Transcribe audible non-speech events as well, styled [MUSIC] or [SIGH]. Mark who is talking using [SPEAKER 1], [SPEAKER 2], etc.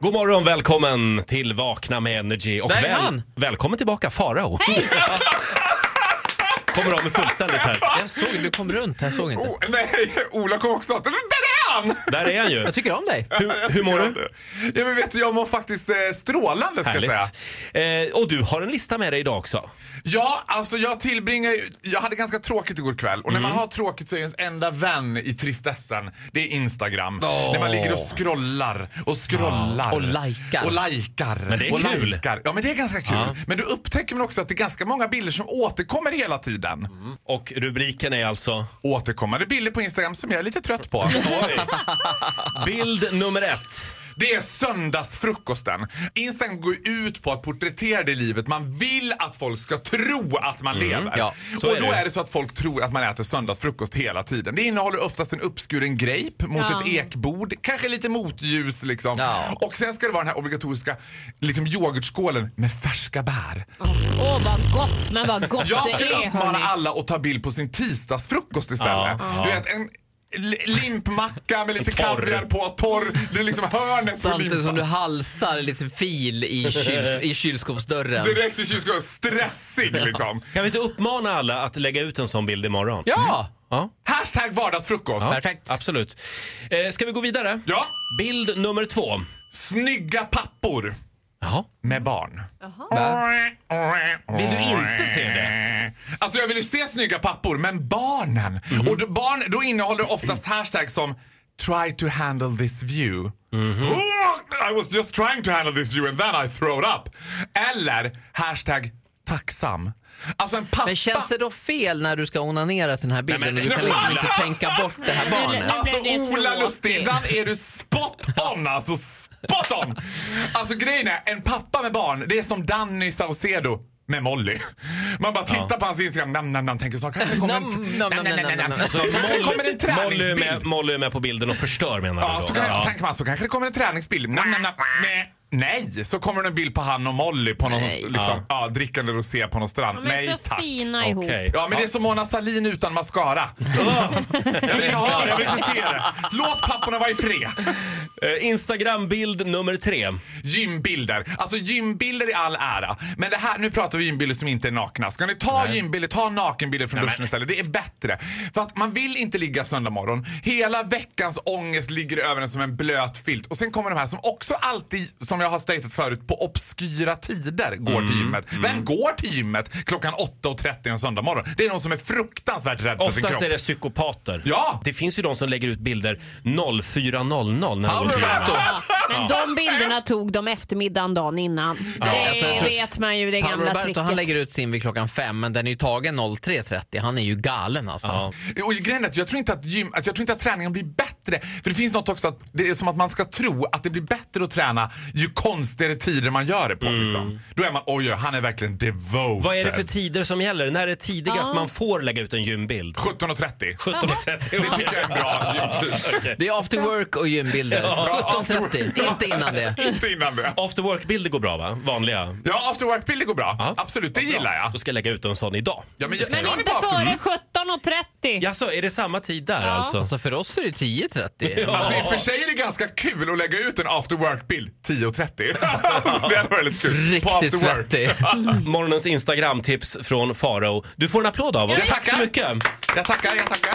[SPEAKER 1] God morgon, välkommen till Vakna med Energy. Och
[SPEAKER 2] Där är han.
[SPEAKER 1] välkommen tillbaka Farao. Hej! Kommer av med fullständigt här.
[SPEAKER 2] Jag såg, du kom runt, jag såg inte.
[SPEAKER 3] Oh, nej, [LAUGHS] Ola kom också. Där är han!
[SPEAKER 1] Där är han ju.
[SPEAKER 2] Jag tycker om dig.
[SPEAKER 1] Hur, hur mår du?
[SPEAKER 3] Ja, men vet du, jag mår faktiskt eh, strålande ska jag säga.
[SPEAKER 1] Härligt. Eh, och du har en lista med dig idag också.
[SPEAKER 3] Ja, alltså jag tillbringar ju... Jag hade ganska tråkigt igår kväll och när man har tråkigt så är ens enda vän i tristessen, det är Instagram.
[SPEAKER 2] Åh. Ah,
[SPEAKER 3] När man ligger och scrollar och scrollar.
[SPEAKER 2] Och likar.
[SPEAKER 3] Och likar.
[SPEAKER 1] Men det är
[SPEAKER 3] och
[SPEAKER 1] kul.
[SPEAKER 3] Likar. Ja, men det är ganska kul. Men då upptäcker man också att det är ganska många bilder som återkommer hela tiden.
[SPEAKER 1] Och rubriken är alltså
[SPEAKER 3] Återkommande bilder på Instagram som jag är lite trött på.
[SPEAKER 1] bild nummer ett.
[SPEAKER 3] Det är söndagsfrukosten. Instagram går ut på att porträttera det livet man vill att folk ska tro att man lever.
[SPEAKER 2] ja,
[SPEAKER 1] Mm. så
[SPEAKER 3] och
[SPEAKER 1] är
[SPEAKER 3] då
[SPEAKER 1] det.
[SPEAKER 3] är det så att folk tror att man äter söndagsfrukost hela tiden. Det innehåller oftast en uppskuren grape mot
[SPEAKER 4] Ja.
[SPEAKER 3] ett ekbord, kanske lite motljus liksom.
[SPEAKER 2] Ja.
[SPEAKER 3] Och sen ska det vara den här obligatoriska liksom, yoghurtskålen med färska bär.
[SPEAKER 4] Åh vad gott, men vad gott
[SPEAKER 3] Jag
[SPEAKER 4] det
[SPEAKER 3] skulle
[SPEAKER 4] är
[SPEAKER 3] uppmana
[SPEAKER 4] hörni.
[SPEAKER 3] alla att ta bild på sin tisdagsfrukost istället.
[SPEAKER 1] Ja,
[SPEAKER 3] Du
[SPEAKER 1] ja.
[SPEAKER 3] vet, en li- limpmacka med lite
[SPEAKER 1] Torr.
[SPEAKER 3] kaviar på, torr. Det är liksom hörnet på
[SPEAKER 2] Samtidigt
[SPEAKER 3] limpan.
[SPEAKER 2] som du halsar lite fil i,
[SPEAKER 3] [LAUGHS]
[SPEAKER 2] kyls, i kylskåpsdörren.
[SPEAKER 3] Direkt i kylskåpet. Stressig liksom.
[SPEAKER 1] Kan vi inte uppmana alla att lägga ut en sån bild imorgon?
[SPEAKER 3] Mm.
[SPEAKER 2] Ja!
[SPEAKER 1] Ja,
[SPEAKER 3] Hashtag vardagsfrukost. Ja.
[SPEAKER 2] Perfekt.
[SPEAKER 1] absolut. Eh, ska vi gå vidare? Bild nummer två.
[SPEAKER 3] Snygga pappor
[SPEAKER 1] Jaha.
[SPEAKER 3] med barn.
[SPEAKER 1] Vill du inte se
[SPEAKER 3] det? Alltså jag vill ju se snygga pappor, men barnen.
[SPEAKER 1] Mm.
[SPEAKER 3] Och då, barn, då innehåller oftast hashtags som Try to handle this view.
[SPEAKER 1] Mm-hmm.
[SPEAKER 3] Oh, I was just trying to handle this view and then I throwed up. Eller hashtag tacksam. Alltså en pappa...
[SPEAKER 2] Men känns det då fel när du ska onanera till den här bilden
[SPEAKER 1] Nej, men-
[SPEAKER 2] och du kan
[SPEAKER 3] Nej,
[SPEAKER 2] liksom
[SPEAKER 3] men-
[SPEAKER 2] inte tänka bort det här barnet?
[SPEAKER 4] Nej,
[SPEAKER 3] Alltså
[SPEAKER 4] men det är
[SPEAKER 3] Ola
[SPEAKER 4] tråkigt.
[SPEAKER 3] Lustig, ibland är du spot on alltså. Spot on! Alltså grejen är, en pappa med barn, det är som Danny Saucedo med Molly. Man bara tittar på hans Instagram, nam, nam, nam, tänker snart kanske kommer en...
[SPEAKER 2] Nam, nam, nam,
[SPEAKER 3] nam, nam,
[SPEAKER 2] nam,
[SPEAKER 3] nam, nam.
[SPEAKER 2] nam.
[SPEAKER 1] Så
[SPEAKER 3] Kanske kommer
[SPEAKER 1] Molly,
[SPEAKER 3] en
[SPEAKER 1] Molly, är
[SPEAKER 3] träningsbild.
[SPEAKER 1] med, Molly är med på bilden och förstör menar
[SPEAKER 3] Ja,
[SPEAKER 1] du
[SPEAKER 3] så
[SPEAKER 1] då?
[SPEAKER 3] kan, tänker man så kanske det kommer en träningsbild. Nam, nam, nam, nej. Nej, så kommer det en bild på han och Molly på någon
[SPEAKER 2] Nej.
[SPEAKER 3] liksom, ja, drickande rosé på någon strand.
[SPEAKER 4] De
[SPEAKER 3] Nej
[SPEAKER 4] är så
[SPEAKER 3] tack.
[SPEAKER 4] fina ihop.
[SPEAKER 1] Okej.
[SPEAKER 3] Ja, men det är som Mona Sahlin utan mascara. Ugh. jag vill inte ha det, jag vill inte se det. Låt papporna vara i fred.
[SPEAKER 1] Eh, Instagram-bild nummer tre.
[SPEAKER 3] Gymbilder. Alltså gymbilder i all ära. Men det här, nu pratar vi gymbilder som inte är nakna. Ska ni ta gymbilder, ta nakenbilder från duschen istället. Det är bättre. För att man vill inte ligga söndag morgon. Hela veckans ångest ligger över en som en blöt filt. Och sen kommer de här som också alltid, som jag har statat förut, på obskyra tider går till gymmet. Vem går till gymmet klockan 8.30 en söndag morgon? Det är någon som är fruktansvärt rädd för sin kropp.
[SPEAKER 1] Oftast är det psykopater.
[SPEAKER 3] Ja!
[SPEAKER 1] Det finns ju de som lägger ut bilder 04.00 när de går till
[SPEAKER 2] Paolo!
[SPEAKER 1] gymmet.
[SPEAKER 4] Men de bilderna tog de eftermiddagen dagen innan. Det
[SPEAKER 2] alltså, jag tror-
[SPEAKER 4] vet man ju, det
[SPEAKER 2] Paolo
[SPEAKER 4] gamla
[SPEAKER 2] Roberto han
[SPEAKER 4] tricket.
[SPEAKER 2] lägger ut sin vid klockan fem men den är ju tagen 03.30. Han är ju galen alltså.
[SPEAKER 1] Ja.
[SPEAKER 3] Och grejen är att jag tror inte att, gym, att, jag tror inte att träningen blir bättre. För det finns något också att det är som att man ska tro att det blir bättre att träna ju konstigare tider man gör det på. Liksom. Då är man oj, oj, han är verkligen devoted.
[SPEAKER 1] Vad är det för tider som gäller? När är tidigast
[SPEAKER 4] Ja.
[SPEAKER 1] man får lägga ut en
[SPEAKER 3] [LAUGHS]
[SPEAKER 1] gymbild?
[SPEAKER 3] 17.30.
[SPEAKER 1] 17.30.
[SPEAKER 3] Det tycker jag är en bra gymtid.
[SPEAKER 2] Det är after work och gymbilder.
[SPEAKER 3] Ja, after work.
[SPEAKER 2] 17.30, inte innan det.
[SPEAKER 3] Inte innan det.
[SPEAKER 1] After work-bilder går bra va? Vanliga.
[SPEAKER 3] Ja, after work-bilder går bra. Absolut, det gillar jag.
[SPEAKER 1] Då ska jag lägga ut en sån idag.
[SPEAKER 3] Ja, men jag ska
[SPEAKER 4] Men
[SPEAKER 3] ni
[SPEAKER 4] inte
[SPEAKER 3] på after-
[SPEAKER 4] före 17.30.
[SPEAKER 1] Jaså, är det samma tid där alltså?
[SPEAKER 2] Alltså för oss är det 10.30.
[SPEAKER 3] Alltså i och för sig är det ganska kul att lägga ut en after work-bild 10.30. [LAUGHS] det hade varit lite kul. På
[SPEAKER 2] Riktigt
[SPEAKER 3] after work.
[SPEAKER 2] svettig.
[SPEAKER 1] Morgonens Instagram-tips från Farao. Du får en applåd av oss.
[SPEAKER 4] Ja,
[SPEAKER 1] Tack så
[SPEAKER 3] tackar.
[SPEAKER 1] mycket.
[SPEAKER 3] Jag tackar, jag tackar.